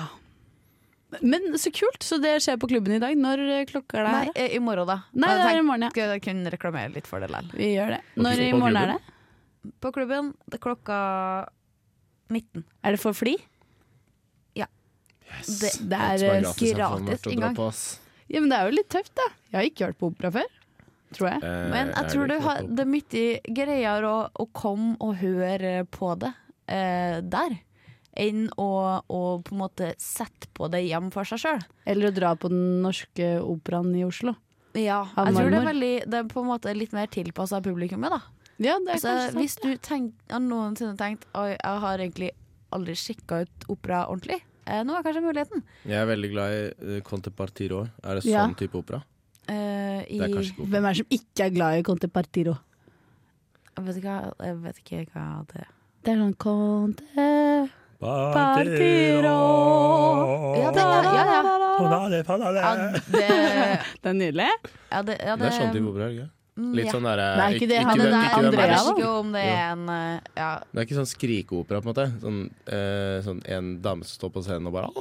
Speaker 2: Men så kult. Så det skjer på klubben i dag. Når ø, klokka er det
Speaker 4: Nei,
Speaker 2: her?
Speaker 4: eh, i morgen, da.
Speaker 2: Nei,
Speaker 4: Jeg
Speaker 2: det er
Speaker 4: tenkte-
Speaker 2: i morgen, ja.
Speaker 4: Skal jeg kunne reklamere litt for det likevel.
Speaker 2: Vi gjør det.
Speaker 3: På
Speaker 2: Når i
Speaker 3: klubben?
Speaker 2: morgen er det?
Speaker 4: på klubben det er klokka 19.
Speaker 2: Er det for fly?
Speaker 3: Yes.
Speaker 2: Det, det
Speaker 3: Alt
Speaker 2: er
Speaker 3: som
Speaker 2: ø,
Speaker 3: gratis, er faen
Speaker 4: eh, gratis
Speaker 3: verdt å dra
Speaker 4: inngang.
Speaker 3: på, ass.
Speaker 2: Ja, men det er jo litt tøft, da. Jeg har ikke hørt på opera før. Tror jeg.
Speaker 3: Eh,
Speaker 4: Men jeg tror
Speaker 3: det
Speaker 4: det,
Speaker 3: ikke
Speaker 4: har,
Speaker 3: opp-
Speaker 4: det er mye greier å, å komme og høre på det eh, der, enn å, å på en måte sette på det hjem for seg sjøl.
Speaker 2: Eller å dra på den norske operaen i Oslo.
Speaker 4: Ja,
Speaker 2: Av
Speaker 4: jeg tror det er,
Speaker 2: marmor.
Speaker 4: veldig, det er på en måte litt mer tilpassa publikummet, da.
Speaker 2: Ja, det er
Speaker 4: Så
Speaker 2: kanskje sant.
Speaker 4: hvis du tenk, har noensinne tenkt Oi, jeg har egentlig aldri sjekka ut opera ordentlig, eh, nå er kanskje muligheten.
Speaker 3: Jeg er veldig glad i Contepartiro. Er det sånn
Speaker 2: Ja.
Speaker 3: type opera?
Speaker 4: Eh, i,
Speaker 3: Det er kanskje ikke
Speaker 2: Hvem
Speaker 3: opera.
Speaker 2: er det som ikke er glad i Conte Partiro?
Speaker 4: jeg, vet ikke, hva- jeg vet ikke hva det er.
Speaker 2: Det er sånn Conte
Speaker 4: Ja, det, ja, ja. Ja, det,
Speaker 2: Det er nydelig.
Speaker 4: Ja, det, ja,
Speaker 3: Det er sånn type opera, ikke
Speaker 4: mm,
Speaker 3: Litt
Speaker 4: ja.
Speaker 3: sånn derre
Speaker 2: Det er ikke det han-
Speaker 4: Men
Speaker 2: det
Speaker 4: det
Speaker 2: ikke
Speaker 4: er
Speaker 2: hvem
Speaker 4: Andrea,
Speaker 2: er det
Speaker 4: da.
Speaker 2: som-
Speaker 4: Ikke om det er en eh, ja.
Speaker 3: Det er ikke sånn skrikeopera, på en måte. Sånn, eh, sånn en dame som står på scenen og bare
Speaker 2: Ja,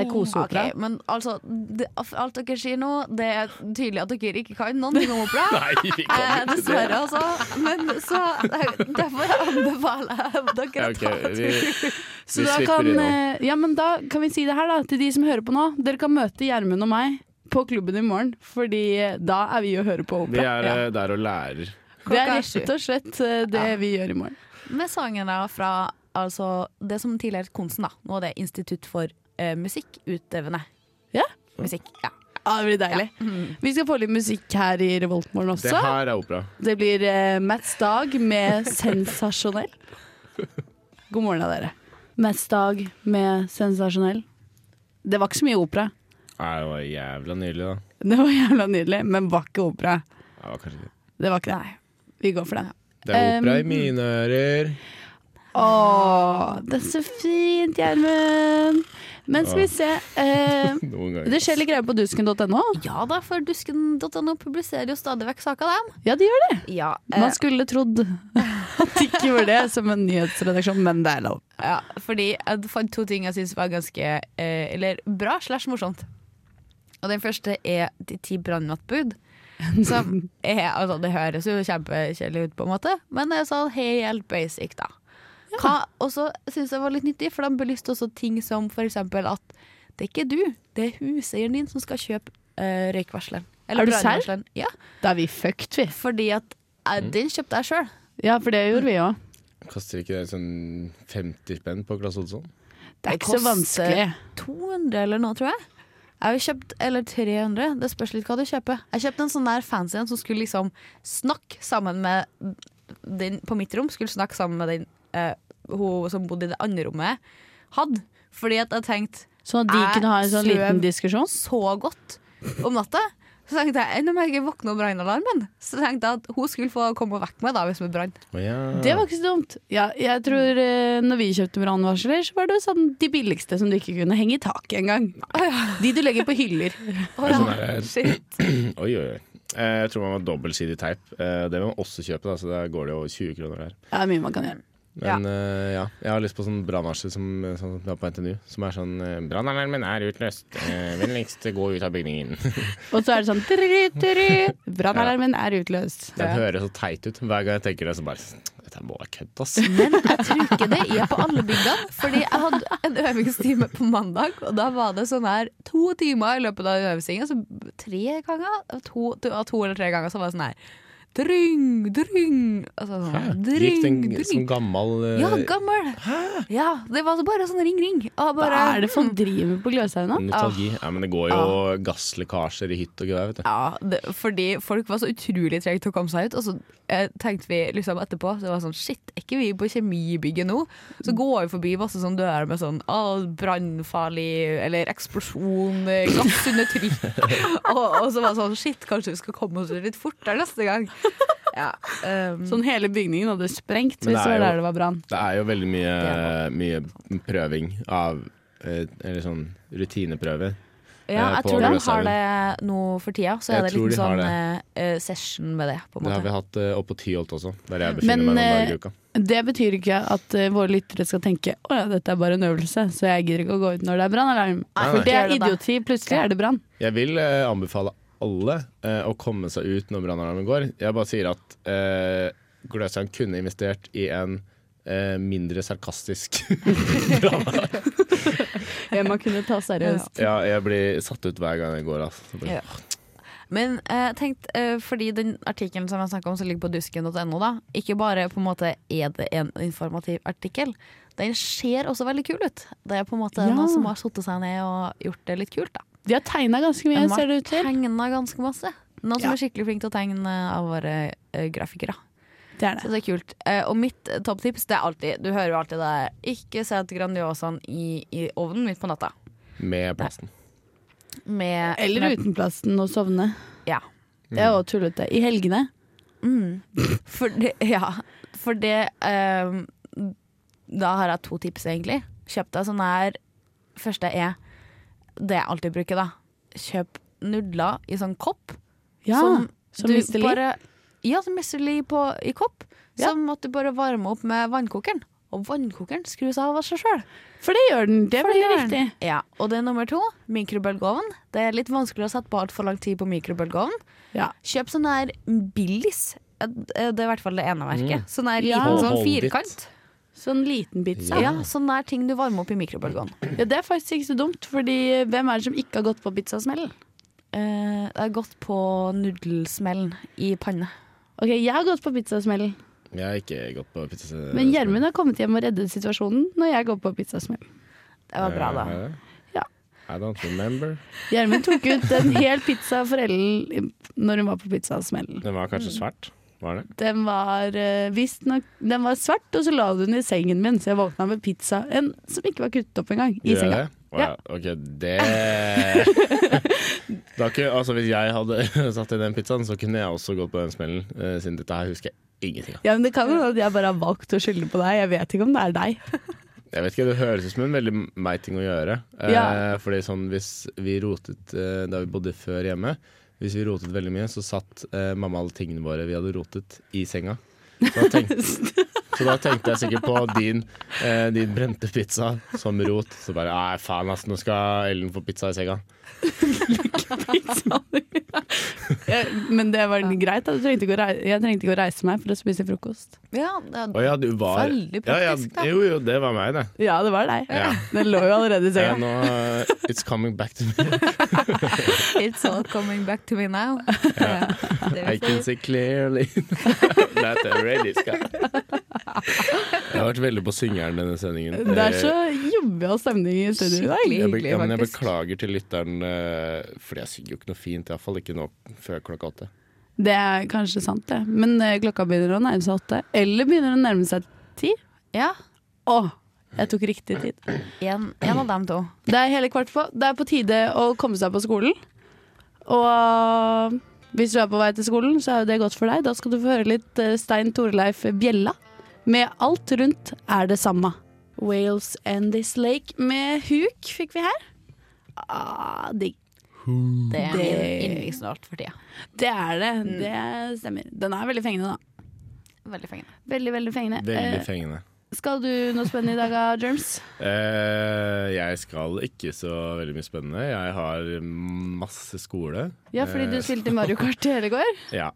Speaker 2: det er
Speaker 4: Ok,
Speaker 2: koseopera.
Speaker 4: men altså det, Alt dere sier nå, det er tydelig at dere ikke kan noen ting om opera.
Speaker 3: Nei, vi
Speaker 4: Eh,
Speaker 3: kommer ikke til det.
Speaker 4: dessverre, altså. Men så Derfor anbefaler jeg dere
Speaker 3: Ja,
Speaker 4: å
Speaker 3: ok,
Speaker 4: ta
Speaker 3: vi,
Speaker 2: Så
Speaker 3: vi
Speaker 2: da
Speaker 3: slipper
Speaker 2: kan,
Speaker 3: unna.
Speaker 2: eh, ja, men da kan vi si det her, da, til de som hører på nå. Dere kan møte Gjermund og meg på klubben i morgen, fordi eh, da er vi og hører på
Speaker 3: vi
Speaker 2: opera.
Speaker 3: er eh, der og lærer.
Speaker 2: Det er
Speaker 4: Klokka er
Speaker 2: rett og slett eh, det vi gjør i morgen.
Speaker 4: med sangene fra altså, det som tidligere het Konsen, da. Nå er det Institutt for eh, musikkutøvende
Speaker 2: Ja.
Speaker 4: musikk. Ja.
Speaker 2: Ja, Mm. det blir deilig. Vi skal få litt musikk her i Revoltmorgen også.
Speaker 3: Det
Speaker 2: Det,
Speaker 3: her er opera.
Speaker 2: blir eh, Mats Dag med 'Sensasjonell'. God morgen av dere. Mats Dag med 'Sensasjonell'. Det var ikke så mye opera.
Speaker 3: Nei, det var jævla nydelig, da.
Speaker 2: Det var jævla nydelig, men var ikke opera.
Speaker 3: Det var kanskje ikke
Speaker 2: Det var ikke det. Vi går for den.
Speaker 3: Det er opera
Speaker 2: Um,
Speaker 3: i mine ører.
Speaker 2: Åh, det er så fint, Gjermund. Men skal vi se eh,
Speaker 3: Noen ganger.
Speaker 2: Det skjer litt greier på dusken.no.
Speaker 4: ja da, for dusken.no publiserer jo stadig vekk saker, dem.
Speaker 2: Ja, det gjør det.
Speaker 4: Ja, eh,
Speaker 2: Man skulle trodd at det ikke var det som en nyhetsredaksjon, men det er lov.
Speaker 4: Ja, fordi jeg fant to ting jeg syns var ganske eh, Eller bra slash morsomt. Og den første er de ti brannmattbud. Som er, altså det høres jo kjempekjedelig ut, på en måte, men det er sånn helt basic, da. Hva, og så syns jeg det var litt nyttig, for de belyste også ting som f.eks. at det er ikke du, det er huseieren din som skal kjøpe eh, røykvarsleren.
Speaker 2: Er du
Speaker 4: brannvarsleren. Ja,
Speaker 2: Da er vi fucked, vi.
Speaker 4: fordi at eh, den kjøpte jeg sjøl.
Speaker 2: Ja, for det gjorde vi òg.
Speaker 3: Kaster ikke det sånn 50 spenn på Klasse Olsson?
Speaker 2: Det er ikke så
Speaker 4: koster
Speaker 2: vanskelig.
Speaker 4: 200 eller noe, tror jeg. Jeg har jo kjøpt, eller 300, det spørs litt hva du kjøper. Jeg kjøpte en sånn der fancy en som skulle liksom snakke sammen med den på mitt rom. Skulle snakke sammen med den eh, hun som bodde i det andre rommet, hadde. Fordi at jeg tenkte
Speaker 2: Sånn at de
Speaker 4: Jeg
Speaker 2: kunne ha en sånn liten
Speaker 4: sløv.
Speaker 2: diskusjon.
Speaker 4: så godt om natta. Så tenkte jeg, enn om jeg ikke våkner om brannalarmen? Så tenkte jeg at hun skulle få komme og vekke meg da hvis det brann.
Speaker 3: Å ja.
Speaker 2: Det var ikke så dumt. Ja, jeg tror eh, når vi kjøpte brannvarsler, så var det sånn de billigste som du ikke kunne henge i taket engang. De du legger på hyller.
Speaker 4: Å
Speaker 3: Det er
Speaker 4: ja,
Speaker 3: sånn der-
Speaker 4: shit.
Speaker 3: Oi, oi, oi. Eh, Jeg tror man har dobbeltsidig teip. Eh, Det vil man også kjøpe, da, så da går det jo 20 kroner der.
Speaker 2: Det er mye man kan gjøre.
Speaker 3: Men eh, ja, jeg har lyst på sånn brannvarsel som, som er på NTNU, som er sånn eh, 'Brannalarmen er utløst. Eh, Vennligst gå ut av bygningen'.
Speaker 2: Og så er det sånn tru, tru, Brannalarmen er utløst.
Speaker 3: Den høres så teit ut. Hver gang jeg tenker det, så bare Dette må være kødd, ass.
Speaker 4: Men jeg tror ikke det er på alle byggene. Fordi jeg hadde en øvingstime på mandag, og da var det sånn her to timer i løpet av den øvingen. Så tre ganger? To, to, ja, to eller tre ganger så var det sånn her Dryng, dryng. Altså, sånn,
Speaker 3: Gikk den
Speaker 4: dryng,
Speaker 2: sånn,
Speaker 3: som
Speaker 4: dryng.
Speaker 3: gammel eh,
Speaker 4: Ja, gammel. Ja, det var bare sånn ring, ring. Og
Speaker 2: Hva
Speaker 4: bare,
Speaker 2: er det folk driver med på Gløshaugen? da?
Speaker 3: nostalgi? Ja, men det går jo gasslekkasjer i hytt og gevær, vet du.
Speaker 4: Ja, det, fordi folk var så utrolig trege til å komme seg ut. Og så eh, tenkte vi liksom etterpå Så det var sånn, shit, er ikke vi på kjemibygget nå?
Speaker 3: Mm.
Speaker 4: Så går vi forbi masse sånn dører med sånn «Å, brannfarlig eller eksplosjon, eh, gass under trykk. og, og så var det sånn, shit, kanskje vi skal komme oss ut litt fortere neste gang. Ja, ehm,
Speaker 2: Sånn hele bygningen hadde sprengt hvis
Speaker 3: Men
Speaker 2: det
Speaker 3: det
Speaker 2: var
Speaker 3: er jo-
Speaker 2: der det var brann.
Speaker 3: Det er jo veldig mye, mye prøving av eh, Eller sånn rutineprøver.
Speaker 4: ja,
Speaker 3: eh,
Speaker 4: jeg
Speaker 3: på
Speaker 4: tror de har
Speaker 3: Gløshaugen.
Speaker 4: det nå for tida. Så
Speaker 3: Jeg
Speaker 4: er det
Speaker 3: tror
Speaker 4: litt
Speaker 3: de har
Speaker 4: sånn eh, eh, session med det, på en
Speaker 3: Det har vi
Speaker 4: måte.
Speaker 3: hatt eh, oppe på Tyholt også, der jeg befinner
Speaker 2: Men,
Speaker 3: meg noen
Speaker 2: eh,
Speaker 3: dager i uka.
Speaker 2: Det betyr ikke at eh, våre lyttere skal tenke å ja, dette er bare en øvelse, så jeg gidder ikke å gå ut når det er brannalarm.
Speaker 4: Nei,
Speaker 2: For det
Speaker 4: gjør
Speaker 2: er
Speaker 4: det da.
Speaker 2: idioti. Plutselig er det brann.
Speaker 3: Jeg vil eh, anbefale alle eh, å komme seg ut når brannalarmen går. Jeg bare sier at eh, Gløshaugen kunne investert i en eh, mindre sarkastisk
Speaker 2: Det man kunne ta seriøst.
Speaker 3: Ja, jeg blir satt ut hver gang jeg går, altså. Det blir-
Speaker 4: Ja. Men eh, tenkt, eh, fordi den artikkelen som jeg snakket om, som ligger på dusken.no, da, ikke bare på en måte er det en informativ artikkel, den ser også veldig kul ut. Det er på en måte
Speaker 2: Ja.
Speaker 4: noen som har satt seg ned og gjort det litt kult. da.
Speaker 2: De har tegna ganske mye, ser det ut til.
Speaker 4: tegna ganske masse. Noen som er skikkelig flink til å tegne av våre eh, grafikere.
Speaker 2: Det er
Speaker 4: Så
Speaker 2: det.
Speaker 4: det er kult. Eh, og mitt eh, topptips, det er alltid, du hører jo alltid det er, ikke sett Grandiosaen i, i ovnen midt på natta.
Speaker 3: Med plasten.
Speaker 4: Med,
Speaker 2: Eller
Speaker 4: med-
Speaker 2: uten plasten og sovne.
Speaker 4: Ja.
Speaker 2: Det er òg tullete. I helgene.
Speaker 4: For det, ja, for det ehm, Da har jeg to tips, egentlig. Kjøp deg sånn her. Første er det jeg alltid bruker, da. Kjøp nudler i sånn kopp.
Speaker 2: Ja,
Speaker 4: som
Speaker 2: som
Speaker 4: du
Speaker 2: mister liv.
Speaker 4: bare- Ja, som mister liv på, i kopp.
Speaker 2: Ja.
Speaker 4: Som at du bare varmer opp med vannkokeren. Og vannkokeren skrus av av seg sjøl.
Speaker 2: For det gjør den. Det er veldig riktig.
Speaker 4: Ja. Og det er nummer to, mikrobølgeovn. Det er litt vanskelig å sette på altfor lang tid på mikrobølgeovn.
Speaker 2: Ja.
Speaker 4: Kjøp sånn her Billis. Eh, Det er i hvert fall det ene verket. Sånn her
Speaker 2: Ja.
Speaker 4: liten sånn
Speaker 3: Mm. Hold it.
Speaker 4: firkant.
Speaker 2: Sånn liten bit.
Speaker 4: Ja. sånn der ting du varmer opp i mikrobølgeovn.
Speaker 2: Ja, det er faktisk ikke så dumt, Fordi hvem er det som ikke har gått på pizzasmell?
Speaker 4: Eh, det er godt på nudelsmellen i panne.
Speaker 2: Ok, jeg har gått på pizzasmell,
Speaker 3: Jeg har ikke gått på pizza...
Speaker 2: men Gjermund har kommet hjem og reddet situasjonen når jeg går på pizzasmell.
Speaker 4: Det var bra,
Speaker 3: Eh.
Speaker 4: da.
Speaker 2: Ja.
Speaker 3: I don't remember.
Speaker 2: Gjermund tok ut en hel pizza for Ellen når hun var på pizzasmellen.
Speaker 3: Den var
Speaker 4: Mm.
Speaker 3: kanskje svart? Var det?
Speaker 2: Den var eh, visstnok Den var svart, og så la du den i sengen min, så jeg våkna med pizza en som ikke var kuttet opp engang. I
Speaker 3: Gjør jeg
Speaker 2: senga.
Speaker 3: det? Å, ja. Ok, det Det er ikke, altså Hvis jeg hadde satt i den pizzaen, så kunne jeg også gått på den smellen. eh, siden dette her husker jeg ingenting av.
Speaker 2: Ja, men Det kan hende at jeg bare har valgt å skylde på deg. Jeg vet ikke om det er deg.
Speaker 3: Jeg vet ikke, Det høres ut som en veldig meg ting å gjøre.
Speaker 2: Ja.
Speaker 3: Eh, fordi sånn Hvis vi rotet eh, der vi bodde før hjemme, Hvis vi rotet veldig mye, så satt eh, mamma alle tingene våre vi hadde rotet, i senga. Så da, tenk, så da tenkte jeg sikkert på din, eh, din brente pizza som rot. Så bare Nei, faen, ass, nå skal Ellen få pizza i senga.
Speaker 2: Ja, men det var greit. Da. Du trengte ikke å rei- Jeg trengte ikke å reise meg for å spise frokost.
Speaker 4: Ja, det
Speaker 3: Å ja, du var
Speaker 4: Veldig
Speaker 3: ja, ja,
Speaker 4: praktisk, da.
Speaker 3: Jo, jo, det var meg, det.
Speaker 2: Ja, det var deg.
Speaker 3: Ja.
Speaker 2: Den lå jo allerede i
Speaker 3: Eh,
Speaker 2: senga.
Speaker 3: nå, eh, it's coming back to me.
Speaker 4: It's all coming back to me now.
Speaker 3: I can see clearly that I already skal. Jeg har vært veldig på syngeren denne sendingen. Eh,
Speaker 2: Det er så jovial stemning i studio i dag.
Speaker 4: Skikkelig.
Speaker 3: jeg, be-
Speaker 4: hyggelig,
Speaker 3: ja, men jeg
Speaker 4: faktisk.
Speaker 3: beklager til lytteren, eh, Fordi jeg synger jo ikke noe fint. Iallfall ikke nå før klokka åtte.
Speaker 2: Det er kanskje sant, det. Men eh, klokka begynner å nærme seg åtte. Eller begynner å nærme seg ti.
Speaker 4: Ja,
Speaker 2: Å, jeg tok riktig tid.
Speaker 4: en, en av dem to.
Speaker 2: Det er hele kvart på. Det er på tide å komme seg på skolen. Og hvis du er på vei til skolen, så er jo det godt for deg. Da skal du få høre litt eh, Stein Torleif Bjella med Alt rundt er det samme. Wales and This Lake med Huk fikk vi her. Ah, digg.
Speaker 4: Det er
Speaker 2: Det-
Speaker 4: min yndlingslåt for tida.
Speaker 2: Det er det. Det stemmer. Den er veldig fengende, da.
Speaker 4: Veldig fengende.
Speaker 2: Veldig, veldig fengende.
Speaker 3: Veldig
Speaker 2: Eh,
Speaker 3: fengende.
Speaker 2: skal du noe spennende i dag, ah, Jerms?
Speaker 3: Eh, jeg skal ikke så veldig mye spennende. Jeg har masse skole.
Speaker 2: Ja, fordi du
Speaker 3: Eh,
Speaker 2: spilte Mario Kart i hele går.
Speaker 3: Ja,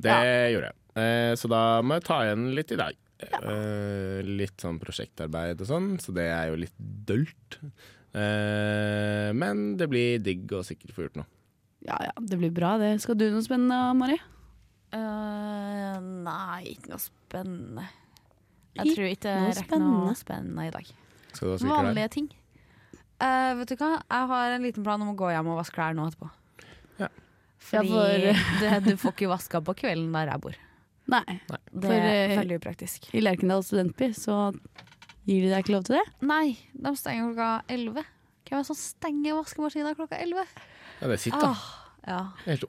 Speaker 3: det gjorde jeg. Eh, så da må jeg ta igjen litt i dag. Eh, litt sånn prosjektarbeid og sånn, så det er jo litt dølt. Eh, men det blir digg å sikkert få gjort noe.
Speaker 2: Ja ja, det blir bra det. Skal du noe spennende, Mari?
Speaker 4: Eh, nei, ikke noe spennende. Jeg
Speaker 2: Ikke
Speaker 4: tror ikke
Speaker 2: noe
Speaker 4: jeg rekker noe spennende i dag.
Speaker 3: Skal du ha sykkel her?
Speaker 4: Vanlige ting. Eh, vet du hva, jeg har en liten plan om å gå hjem og vaske klær nå etterpå.
Speaker 3: Ja.
Speaker 4: Fordi
Speaker 2: Ja,
Speaker 4: det, du får ikke vaska på kvelden der jeg bor.
Speaker 2: Nei.
Speaker 4: Det
Speaker 2: For,
Speaker 4: er
Speaker 2: eh,
Speaker 4: veldig upraktisk.
Speaker 2: I Lerkendal studentby så gir de deg ikke lov til det.
Speaker 4: Nei, de stenger klokka elleve. Hvem er det som stenger vaskemaskina klokka elleve?
Speaker 3: Ja, det er sitt, da.
Speaker 4: Ah, Ja.
Speaker 3: Helt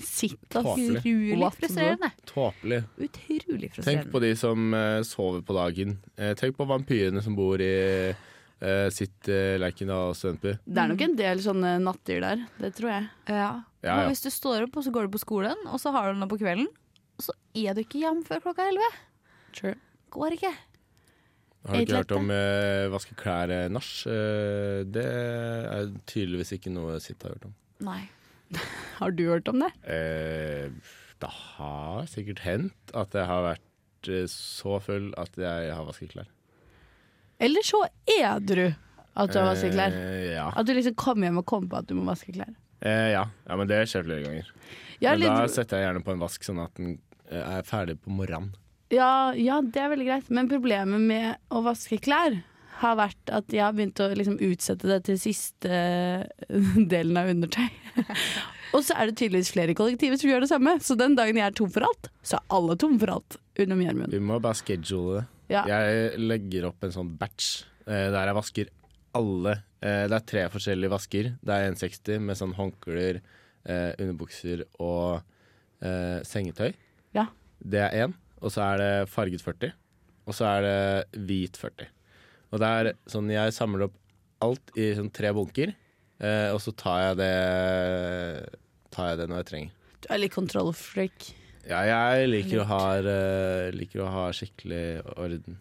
Speaker 2: Sitt
Speaker 3: Tåpelig.
Speaker 4: Utrolig
Speaker 2: What the-
Speaker 4: frustrerende.
Speaker 3: tåpelig.
Speaker 4: Utrolig
Speaker 3: Tenk på
Speaker 4: frustrerende.
Speaker 3: de som eh, sover på dagen. Eh, tenk på vampyrene som bor i eh, sitt uh, Lerkendal studentby.
Speaker 2: Det er nok en del sånne nattdyr der, det tror jeg.
Speaker 4: Ja.
Speaker 3: Ja,
Speaker 4: Men
Speaker 3: ja.
Speaker 4: hvis du står opp og så går du på skolen, og så har du noe på kvelden, så er du ikke hjemme før klokka elleve. Går ikke.
Speaker 3: Har du ikke
Speaker 2: Eidlette.
Speaker 3: hørt om eh, vaske klær-nach? det er tydeligvis ikke noe sitt har hørt om.
Speaker 4: Nei.
Speaker 2: Har du hørt om det?
Speaker 3: Eh, det har sikkert hendt at jeg har vært eh, så full at jeg har vasket klær.
Speaker 2: Eller så er du at du har vasket klær.
Speaker 3: Eh, ja.
Speaker 2: At du liksom kom hjem og kom på at du må vaske klær.
Speaker 3: Eh, ja. ja, men det skjer flere ganger.
Speaker 2: Ja,
Speaker 3: men da
Speaker 2: litt,
Speaker 3: setter jeg gjerne på en vask sånn at den eh, er ferdig på morgenen.
Speaker 2: ja, ja, det er veldig greit. Men problemet med å vaske klær har vært at jeg har begynt å liksom utsette det til siste eh, delen av undertøy. og så er det tydeligvis flere kollektiver som gjør det samme. Så den dagen jeg er tom for alt, så er alle tom for alt. Under Gjermund.
Speaker 3: Vi må bare schedule det.
Speaker 2: Ja.
Speaker 3: Jeg legger opp en sånn batch eh, der jeg vasker alle. Eh, det er tre forskjellige vasker. Det er 160 med sånn håndklær, eh, underbukser og eh, sengetøy.
Speaker 2: Ja.
Speaker 3: Det er én. Og så er det farget 40. Og så er det hvit 40. Og det er sånn jeg samler opp alt i sånn tre bunker, eh, og så tar jeg det Tar jeg det når jeg trenger.
Speaker 2: Du er litt kontrollfreak.
Speaker 3: Ja, jeg liker å ha, eh, liker å ha skikkelig orden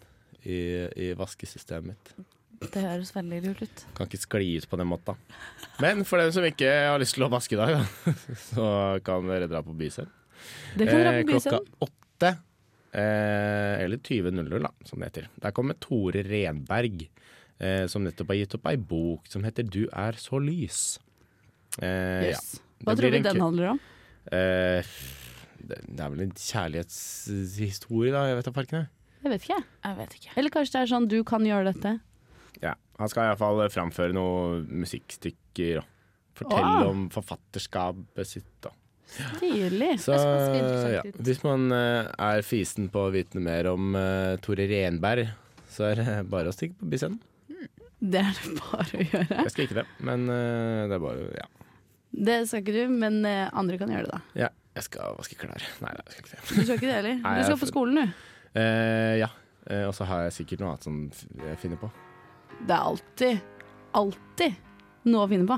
Speaker 3: i, i vaskesystemet mitt.
Speaker 4: Det høres veldig lurt ut.
Speaker 3: Kan ikke skli ut på den måten. Men for dem som ikke har lyst til å vaske i dag, da, så kan dere dra på Byscenen.
Speaker 2: Det kan dra
Speaker 3: Eh,
Speaker 2: på
Speaker 3: klokka
Speaker 2: byscenen.
Speaker 3: åtte, eh, eller 20.00, da, som det heter. Der kommer Tore Renberg, eh, som nettopp har gitt opp ei bok som heter 'Du er så lys'. Eh, ja.
Speaker 2: Yes. Hva
Speaker 3: Det blir
Speaker 2: tror du
Speaker 3: en
Speaker 2: den
Speaker 3: kø-
Speaker 2: handler om?
Speaker 3: Eh, det, det er vel en kjærlighetshistorie, da. Jeg vet da farken, jeg.
Speaker 2: Jeg vet ikke. jeg.
Speaker 4: Jeg vet ikke.
Speaker 2: Eller kanskje det er sånn du kan gjøre dette.
Speaker 3: Ja, Han skal iallfall framføre noen musikkstykker og fortelle
Speaker 2: Wow.
Speaker 3: om forfatterskapet sitt. Da.
Speaker 2: Stilig.
Speaker 3: Så
Speaker 4: Det høres interessant
Speaker 3: ja,
Speaker 4: ut.
Speaker 3: hvis man eh, er fisen på å vite noe mer om eh, Tore Renberg, så er det bare å stikke på Byscenen.
Speaker 2: Det er det bare å gjøre.
Speaker 3: Jeg skal ikke det, men eh, det er bare ja.
Speaker 2: Det skal ikke du, men eh, andre kan gjøre det, da.
Speaker 3: ja. Jeg skal vaske klær. Nei, nei, jeg skal ikke det.
Speaker 2: Du skal ikke det heller.
Speaker 3: Nei,
Speaker 2: Du skal
Speaker 3: jeg-
Speaker 2: på skolen, du.
Speaker 3: Eh, ja. Eh, og så har jeg sikkert noe annet som jeg finner på.
Speaker 2: Det er alltid, alltid noe å finne på.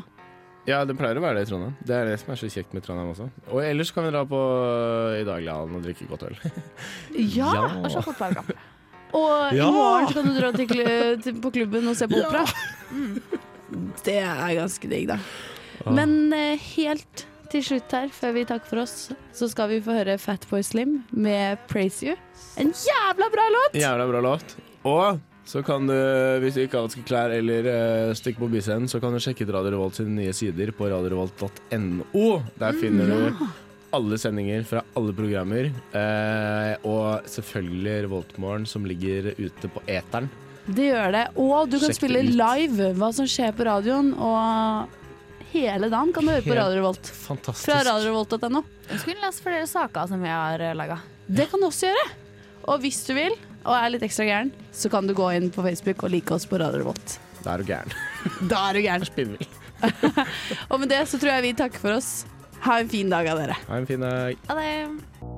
Speaker 3: Ja, det pleier å være det i Trondheim. Det er det som er så kjekt med Trondheim også. Og ellers kan vi dra på eh, i Daglighallen og drikke godt øl.
Speaker 2: Ja!
Speaker 4: Og se fotballkamp.
Speaker 2: Og
Speaker 3: Ja!
Speaker 2: i morgen så kan du dra til, kl- til, på klubben og se på opera. Mm. Det er ganske digg, da. Men eh, helt til slutt her, før vi takker for oss, så skal vi få høre Fatboy Slim med 'Praise You'. En jævla bra låt!
Speaker 3: Jævla bra låt. Og så kan du, hvis du ikke har vasket klær eller uh, stikker på byscenen, så kan du sjekke ut Radio Revolt sine nye sider på radiorevolt.no. Der
Speaker 2: Mm,
Speaker 3: finner du alle sendinger fra alle programmer. eh, og selvfølgelig Revoltmorgen, som ligger ute på eteren.
Speaker 2: Det gjør det. Og du kan
Speaker 3: Sjekk det
Speaker 2: spille
Speaker 3: ut.
Speaker 2: live hva som skjer på radioen. Og hele dagen kan du høre på
Speaker 3: Helt
Speaker 2: Radio Revolt.
Speaker 3: Fantastisk.
Speaker 2: Fra radiorevolt.no.
Speaker 4: Jeg skulle lese flere saker som jeg har eh, laga.
Speaker 2: Det kan du også gjøre. Og hvis du vil, og er litt ekstra gæren, så kan du gå inn på Facebook og like oss på Radio Revolt.
Speaker 3: Da er du gæren.
Speaker 2: Da er du gæren.
Speaker 3: Spinnvill.
Speaker 2: Og med det så tror jeg vi takker for oss. Ha en fin dag av dere.
Speaker 3: Ha en fin dag.
Speaker 4: Ha det.